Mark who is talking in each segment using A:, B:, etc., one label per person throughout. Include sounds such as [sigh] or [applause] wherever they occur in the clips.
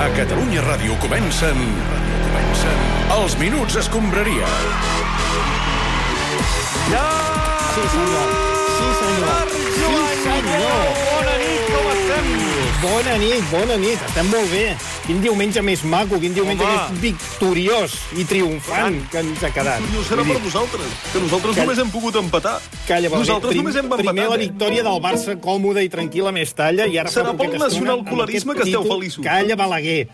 A: A Catalunya Ràdio comencen... comencen... Els Minuts Escombraria.
B: Sí, senyor. Sí, senyor. Sí, senyor.
C: Bona nit, com estem?
B: Bona nit, bona nit. Estem molt bé. Quin diumenge més maco, quin diumenge
C: Home.
B: més victoriós i triomfant que ens ha quedat.
C: No serà
B: Vull
C: per
B: dir,
C: vosaltres, que nosaltres
B: Calla.
C: només hem pogut empatar.
B: Calla, va bé.
C: nosaltres
B: Prim-
C: només hem empatat.
B: Primer la
C: eh?
B: victòria del Barça còmoda i tranquil·la més talla i ara...
C: Serà
B: fa poqueta
C: pel
B: estona, amb
C: nacionalcolerisme
B: aquest
C: que esteu
B: títol,
C: feliços.
B: Calla, Balaguer.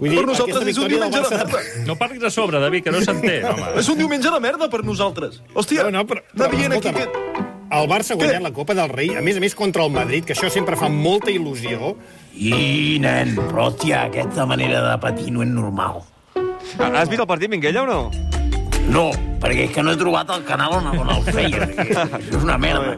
B: Vull
C: Per nosaltres
B: aquesta
C: és un
B: victòria del
C: diumenge de
B: Barça-
C: merda.
D: No parlis a sobre, David, que no
E: [laughs]
D: s'entén, home.
C: És un diumenge de merda per nosaltres.
B: [laughs]
C: Hòstia,
B: No, no, però...
C: anar dient aquí
B: escolta'm,
C: aquest...
B: El Barça ha guanyat la Copa del Rei, a més a més contra el Madrid, que això sempre fa molta il·lusió.
F: I, nen, però, hòstia, aquesta manera de patir no és normal.
G: Ah, Has vist el partit, Minguella, o no?
F: No, perquè és que no he trobat el canal on, on el feien. És una merda.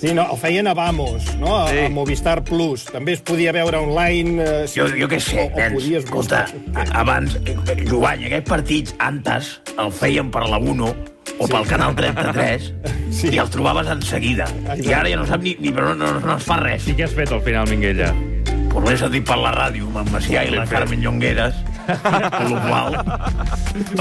B: Sí, no, el feien a Vamos, no? A,
G: Sí.
B: a Movistar Plus. També es podia veure online... Eh, si-
F: Jo, jo què
B: o,
F: sé,
B: o
F: nens,
B: podies
F: escolta,
B: buscar-
F: a- abans, eh, Jovany, aquests partits, antes, el feien per la 1 o pel Canal 33
B: Sí.
F: i els trobaves en seguida.
B: Ai,
F: I ara ja no sap ni, ni però no, no, no es fa res.
D: I què has fet al final, Minguella?
F: Però l'he sentit per la ràdio, amb en Macià i la Carmen Llongueres, amb la qual,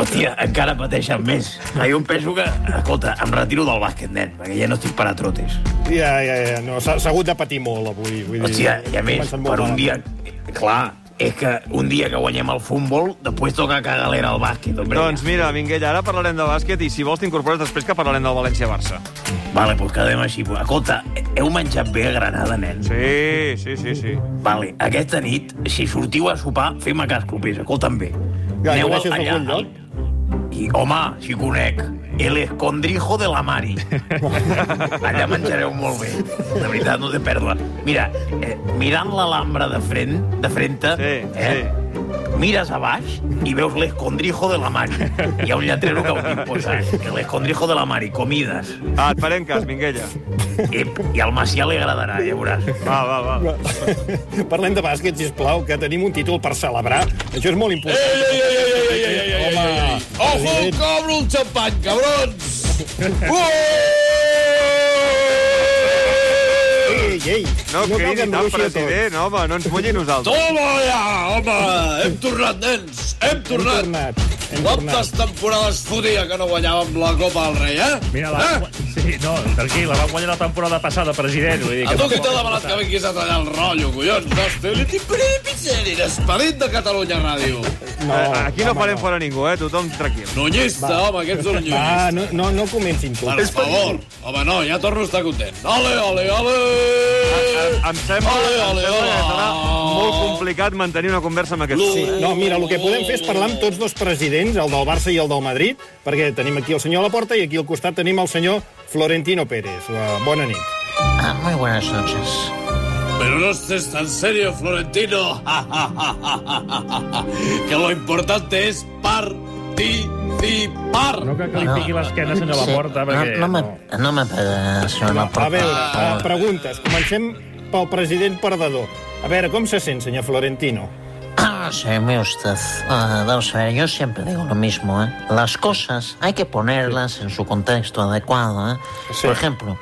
F: hòstia, encara pateixen més. Ah, Jo em penso que, escolta, em retiro del bàsquet, nen, perquè ja no estic per a trotes.
B: Ja, ja, ja, no, s'ha s'ha hagut de patir molt avui. Vull dir,
F: Hòstia, i a
B: s'ha
F: més,
B: començat molt
F: per un
B: malament.
F: dia... Clar, és que un dia que guanyem el futbol, després toca cagalera al bàsquet, hombre.
G: Doncs mira, Minguella, ara parlarem de bàsquet i si vols t'incorpores després que parlarem del València-Barça.
F: Vale, doncs quedem així. Escolta, heu menjat bé a Granada, nen?
G: Sí, sí, sí, sí.
F: Vale, aquesta nit, si sortiu a sopar, fem-me cas, clubers, escolta'm bé.
B: Ja,
F: Aneu
B: jo deixes
F: allà,
B: algun lloc?
F: I, home, si conec, el escondrijo de la
B: [laughs]
F: Mari. Allà menjareu molt bé. De veritat, no té pèrdua. Mira, eh, mirant l'alhambra de frent, de frente,
G: Sí,
F: eh, mires a baix i veus l'escondrijo de la Mari. Hi ha un lletrero que ho diu posar. L'escondrijo de la Mari, comides.
G: Ah, et farem cas, Minguella.
F: Ep, I al Macià li agradarà, ja veuràs.
G: Va, va, va.
B: [laughs] Parlem de bàsquet, sisplau, que tenim un títol per celebrar. Això és molt important. Ei, ei, ei, ei, ei, ei, ei, Home,
H: Ojo,
B: David,
H: cobro el xampany, cabrons!
B: ei, ei,
G: No,
B: cal que
G: cridi tant,
B: engruixi a tots.
G: president, home, no ens mulli a nosaltres.
H: Toma ja, home! Hem tornat, nens! Hem
B: Hem
H: tornat!
B: tornat, hem
H: Quantes
B: tornat.
H: temporades fotia que no guanyàvem la Copa del Rei, eh?
D: Mira, la...
E: Ah!
H: eh?
D: Sí, no, tranquil, la vam guanyar la temporada passada, president. Vull dir
H: A
E: Ah,
D: que
H: tu qui
D: tampoc-
H: t'ha demanat que vinguis a tallar el rotllo, collons? No, estiu, li tinc principi, esperit de Catalunya Ràdio.
B: No,
G: Eh, Aquí no
B: home,
G: farem fora ningú, eh? Tothom tranquil.
H: Nunyista, home, que ets un
B: Va,
H: llunyista.
B: no, no, no comencin tu.
H: Per favor, home, no, ja torno a estar content. Ole, ole, ole!
G: Em, em sembla,
H: Ole,
G: em
H: ole,
G: sembla que serà
H: ole.
G: molt complicat mantenir una conversa amb aquest...
H: Lu-
B: No, mira, el que podem fer és parlar amb tots dos presidents, el del Barça i el del Madrid, perquè tenim aquí el senyor Laporta i aquí al costat tenim el senyor Florentino Pérez. Eh, Bona nit.
E: Ah, muy buenas noches.
H: Pero no estés tan serio, Florentino. [laughs] que lo importante es participar.
D: No cal que li piqui l'esquena, senyor Laporta, perquè...
E: no, no, me, no me pegues, señor Laporta.
B: A veure, eh, preguntes. Comencem pel president perdedor. A veure, com se sent, senyor Florentino?
E: Ah, sí, mire usted. Ah, vamos a ver, yo siempre digo lo mismo, ¿eh? Las cosas hay que ponerlas en su contexto adecuado, ¿eh?
B: Sí.
E: Por ejemplo,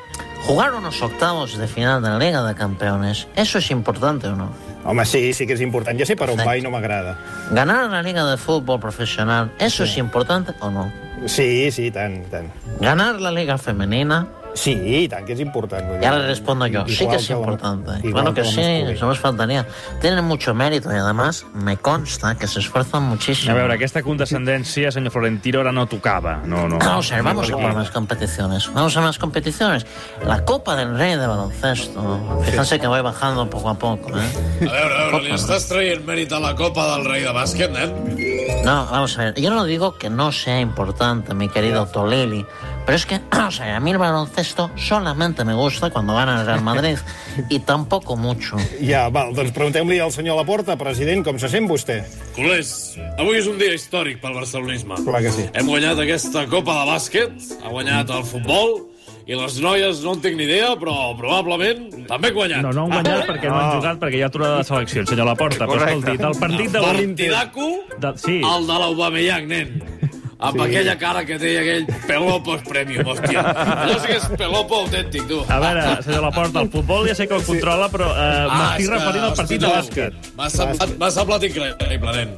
E: jugar unos octavos de final de la Liga de Campeones, ¿eso es importante o no?
B: Home, sí, sí que és important. Ja sé per on va i no m'agrada.
E: Ganar la Liga de Fútbol Profesional, ¿eso es importante o no?
B: Sí, sí, i tant, i tant.
E: Ganar la Liga Femenina,
B: Sí, i tant, que és important. vull dir.
E: Ya le respondo yo. Sí que
B: Igual
E: es
B: la-
E: importante.
B: igual
E: Claro que
B: la
E: sí,
B: masculina.
E: eso nos faltaría. Tienen mucho mérito y además me consta que se esfuerzan muchísimo.
D: A veure, aquesta condescendència, senyor Florentino, ara no tocava. No, no.
E: Vamos a ver, Ah, vamos a por más competiciones. Vamos a más competiciones. La Copa del Rey de baloncesto. Fíjense que voy bajando poco a poco, ¿eh?
H: A veure, a veure, li estàs traient mèrit a la Copa del Rei de Bàsquet, nen?
E: No, vamos a ver. Yo no digo que no sea importante, mi querido Tolili. Pero es que, [clears throat] vamos a ver, a mí el baloncesto solamente me gusta cuando gana el Real Madrid. Y tampoco mucho.
B: Ja, val, doncs preguntem-li al senyor Laporta, president, com se sent vostè?
H: Culers, avui és un dia històric pel barcelonisme.
B: Clar que sí.
H: Hem guanyat aquesta Copa de Bàsquet, ha guanyat el futbol, i les noies no en tinc ni idea, però probablement també han guanyat.
D: No, no han guanyat perquè no han jugat, perquè hi ha aturada de seleccions, senyor Laporta. Però
G: Correcte.
D: escolti, el partit d'avui...
H: Partidaco
D: De... Sí,
H: El de l'Aubameyang, nen. amb sí. aquella cara que té aquell Pelopos Premium, hòstia. Allò sí que és Pelopo autèntic, tu.
D: A veure, senyor Laporta, el futbol ja sé que el controla, però eh, m'estic
H: Ah, és que,
D: referint al partit de
H: hòstia,
D: bàsquet.
H: M'ha semblat, m'ha semblat increïble, nen.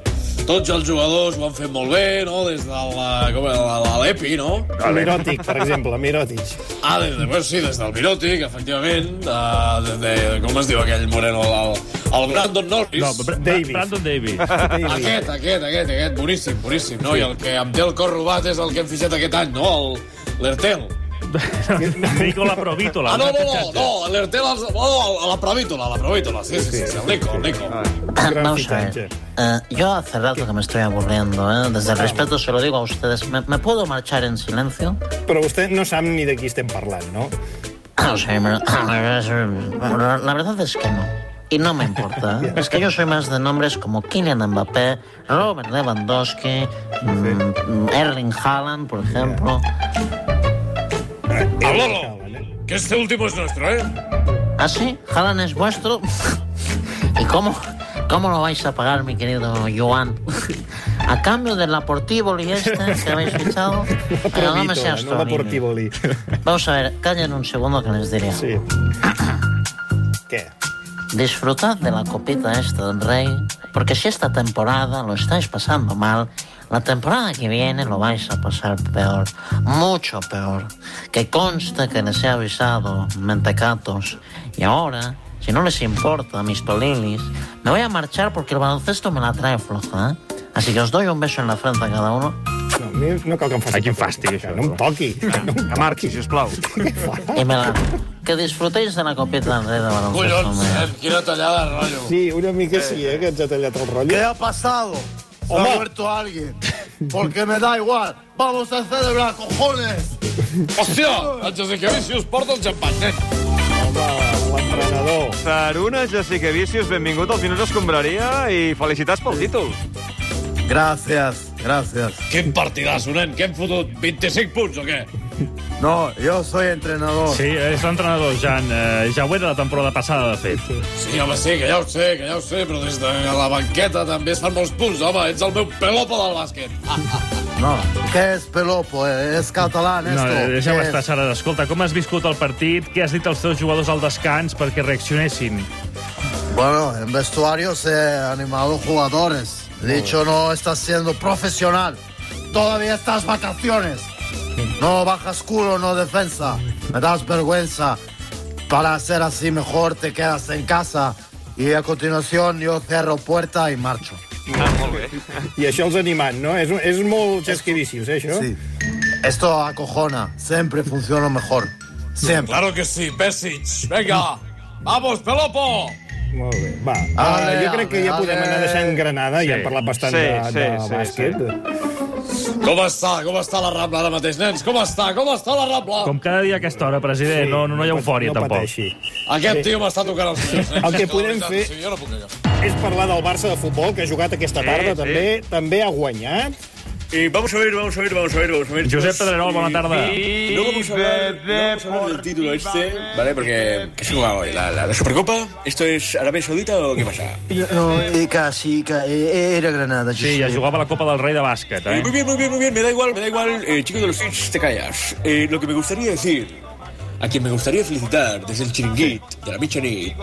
H: Tots els jugadors ho han fet molt bé, no? Des de la, com era, la, la l'EPI, no?
B: Mirotic, per exemple, Mirotic.
H: Ah, des de, bueno, sí, des del Miròtic, efectivament. Uh, de, de, com es diu aquell moreno? El, el Brandon Norris.
D: No, Bra- Bra-
B: Davis.
D: Brandon Davis.
H: Aquest, aquest, aquest, aquest, boníssim, boníssim, no? I el que em té el cor robat és el que hem fitxat aquest any, no? El- L'Ertel.
D: Nicola Provítola.
H: Ah, no, no, no, no, l'Ertel, els- no, no, la Pravítola, la Pravítola, sí, sí, sí, Ah. sí, el Nico, el Nico.
E: Vamos a
B: fichaje.
E: ver. Eh, yo hace rato que me estoy aburriendo, ¿eh? Desde el respeto se lo digo a ustedes. ¿Me, me puedo marchar en silencio?
B: Però vostè no sap ni de qui estem parlant, no?
E: Ah, Alzheimer. La verdad es que no. Y no me importa. ¿eh? Es que yo soy más de nombres como Kylian Mbappé, Robert Lewandowski, mm, Erling Haaland, por ejemplo.
H: Ah, Lolo, que este último es nuestro, ¿eh?
E: ¿Ah, sí? ¿Haaland es vuestro? [laughs] ¿Y cómo, cómo lo vais a pagar, mi querido
B: [laughs]
E: Joan? A cambio del Laportivoli este que habéis
B: [laughs]
E: fichado. Pero no me seas
B: no la
E: tornillo.
B: Portivoli.
E: Vamos a ver, callen un segundo que les diré. [coughs]
B: Sí. Què?
E: Disfrutad de la copita esta del rey, porque si esta temporada lo estáis pasando mal, la temporada que viene lo vais a pasar peor, mucho peor. Que conste que les he avisado, mentecatos. Y ahora, si no les importa, mis tolilis, me voy a marchar porque el baloncesto me la trae floja, ¿eh? Así que os doy un beso en la frente a cada uno
B: No, a mi no cal que em faci...
D: Ai, quin
B: patir.
D: fàstic, això. Ah.
B: No em toqui. No em
G: Que marqui, sisplau.
E: y me la... Que disfrutéis de la copita del rey de baloncesto.
H: Collons,
E: hombre.
H: eh, quina tallada de rotllo.
B: Sí, una mica sí, eh, que ens ha tallat el rotllo.
I: ¿Qué ha pasado? Se ha muerto alguien. Porque me da igual. Vamos a celebrar, cojones.
H: Hòstia, en Jasicavicius porta el xampany, eh. nen.
B: Ah, L'entrenador.
G: Saruna, Jessica Vicius, benvingut als Minuts Escombraria i felicitats pel títol.
I: Gracias, gracias.
H: Quin partidasso, nen, que hem fotut 25 punts o què?
I: No, yo soy
H: oh,
I: entrenador.
D: Sí, és l'entrenador, Jan. Eh, ja ho era la temporada passada, de fet.
H: Sí, home, sí, que ja ho sé, que ja ho sé, però des de la banqueta també es fan molts punts, home, ets el meu pelopo del bàsquet. Ah,
I: No, ¿qué es Pelopo? Eh, ¿Es catalán esto?
D: No, eh, deixa'm
I: ¿Qué
D: estar,
I: es?
D: Sara. Escolta, com has viscut el partit? Què has dit als teus jugadors al descans perquè reaccionessin?
I: Bueno, en vestuarios he animado jugadores. He dicho, no estás siendo profesional. Todavía estás vacaciones. No bajas culo, no defensa. Me das vergüenza. Para hacer así mejor te quedas en casa. Y a continuación yo cerro puerta y marcho.
B: I això els animant, no? És, és molt xasquidíssims, eh, això?
I: Sí. Esto acojona. Siempre funciona mejor. Siempre.
H: claro que sí, Pesic, venga, vamos, pelopo!
B: Molt bé. Va,
D: Ah,
I: Ale,
B: uh, jo crec que ja
I: ale,
B: podem anar
I: ale.
B: deixant Granada, ja hem parlat bastant
G: sí,
B: de, de
G: sí, sí,
B: bàsquet.
H: Com està, com està la Rambla ara mateix, nens? Com està, com està la Rambla?
D: Com cada dia a aquesta hora, president, no, no, no hi ha
B: pat-
D: eufòria,
B: no
D: tampoc.
B: Pateixi.
H: Aquest tio m'està tocant els collons, nens.
B: El que
H: És la
B: podem
H: veritat,
B: fer-
H: Sí, jo no puc agafar.
B: És parlar del Barça de futbol, que ha jugat aquesta tarda,
G: sí.
B: també. També ha guanyat.
J: Eh, vamos a ver, vamos a ver, vamos a ver, vamos a ver.
D: Josep Pedrerol, bona tarda.
J: No vamos a hablar, no vamos a hablar del título este, ¿vale? Porque, ¿qué se juega hoy? ¿La, la, la Supercopa? ¿Esto es Arabia Saudita o qué pasa?
I: No, eh, casi, ca- eh, era Granada.
D: Sí, ja
I: sí.
D: jugava a la Copa del Rei de bàsquet,
J: Eh,
D: eh?
J: muy bien, muy bien, muy bien, me da igual, me da igual. Eh, chico de los Fins, te callas. Eh, lo que me gustaría decir, a quien me gustaría felicitar desde el Chiringuit, de la Michanit,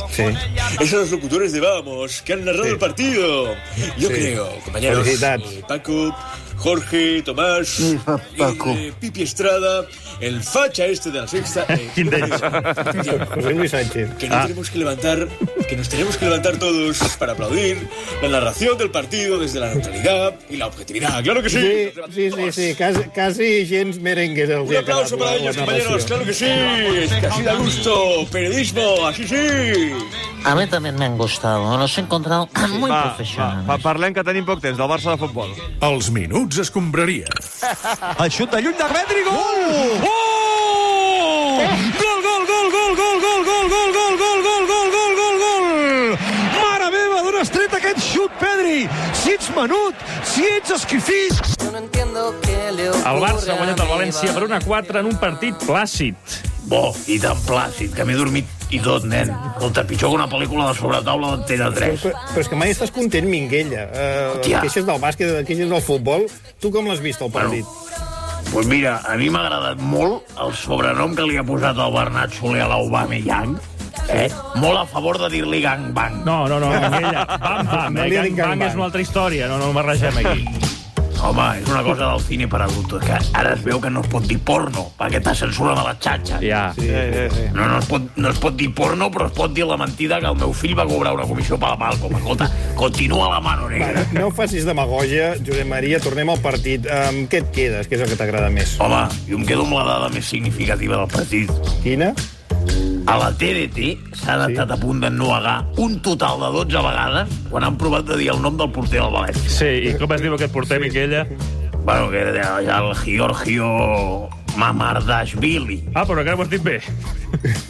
J: es a los locutores de Vamos, que han narrado el partido. Yo creo, compañeros,
B: Felicidades.
J: eh, Paco, Jorge, Tomás,
I: Sí, fa- Paco.
J: eh, Pipi Estrada, el facha este de la sexta. eh, [laughs]
D: Quin d'ells?
B: José Luis Sánchez.
J: que nos tenemos que levantar, que nos tenemos que levantar todos para aplaudir la narración del partido desde la neutralidad y la objetividad. Claro que sí.
B: Sí,
J: Nos levantamos.
B: sí, sí, sí. Quasi, quasi gens merengues els
J: Un
B: hi ha quedat.
J: aplauso para
B: la- la
J: ellos, compañeros.
B: narració.
J: Claro que sí. Es que así da gusto. Periodismo, así sí.
E: A mí también me han gustado, los he encontrado muy
G: Va, va,
E: profesionales.
G: pa- parlem que tenim poc temps del Barça de futbol.
A: Els minuts escombraria.
G: El xut de lluny de Pedri, gol! Oh! Gol, gol, gol, gol, gol, gol, gol, gol, gol, gol, gol, gol, gol, gol, gol! Mare meva, d'on has tret aquest xut, Pedri? Si ets menut, si ets esquifís...
D: El Barça ha guanyat el València per 1 a 4 en un partit plàcid.
F: bo i tan plàcid que m'he dormit i tot, nen. Escolta, pitjor que una pel·lícula de sobretaula d'Antena 3.
B: Però, però és que mai estàs content, Minguella. Uh, les
F: Hòstia.
B: queixes del bàsquet, les queixes del futbol... Tu com l'has vist, el partit?
F: Pues mira, a mi m'ha agradat molt el sobrenom que li ha posat el Bernat Soler a l'Aubameyang. Eh? Molt a favor de dir-li gangbang.
D: No, no, no, aquella. Bam, bam,
F: No
D: eh?
F: li
D: Gang Bang és
F: diguin gangbang.
D: una altra història. No, no barregem aquí.
F: Home, és una cosa del cine per adultos, que ara es veu que no es pot dir porno, perquè te censura de la xatxa.
D: Ja.
F: Sí, sí, sí. No, no, es pot, no es pot dir porno, però es pot dir la mentida que el meu fill va cobrar una comissió per la Malcom. Escolta, continua la mano negra.
B: No facis demagogia, Josep Maria, tornem al partit. Amb què et quedes, que és el que t'agrada més?
F: Home, jo em quedo amb la dada més significativa del partit.
J: Oh.
B: Quina?
F: A la TDT s'han sí. estat a punt d'ennuegar un total de 12 vegades quan han provat de dir el nom del porter del València.
D: Sí, i com es diu aquest porter, sí. Miquella?
F: Bueno, que era el Giorgio Mamardashvili.
D: Ah, però encara ho has dit bé.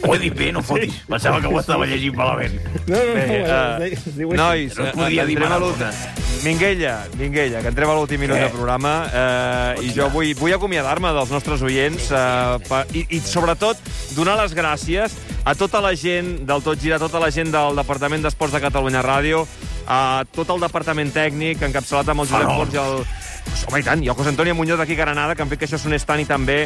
F: Ho he dit bé, no fotis. Sí. Pensava que ho estava llegint malament.
B: No, no, no,
G: Bé,
B: eh,
G: eh,
B: es de- es diu així.
G: Nois,
F: No es
G: eh,
F: podia dir
G: entrem a
F: Maradona.
G: l'últim- Minguella, Minguella, que entrem a l'últim minut
F: Eh.
G: del programa eh, i jo vull, vull acomiadar-me dels nostres oients eh, per, i, i, sobretot, donar les gràcies a tota la gent del Tot Gira, a tota la gent del Departament d'Esports de Catalunya Ràdio, a tot el departament tècnic, encapçalat amb el Josep
F: Fenòmens.
G: Pons i el... Home, i tant, i el José Antonio Muñoz d'aquí Granada, que han fet que això sonés tant i tan bé,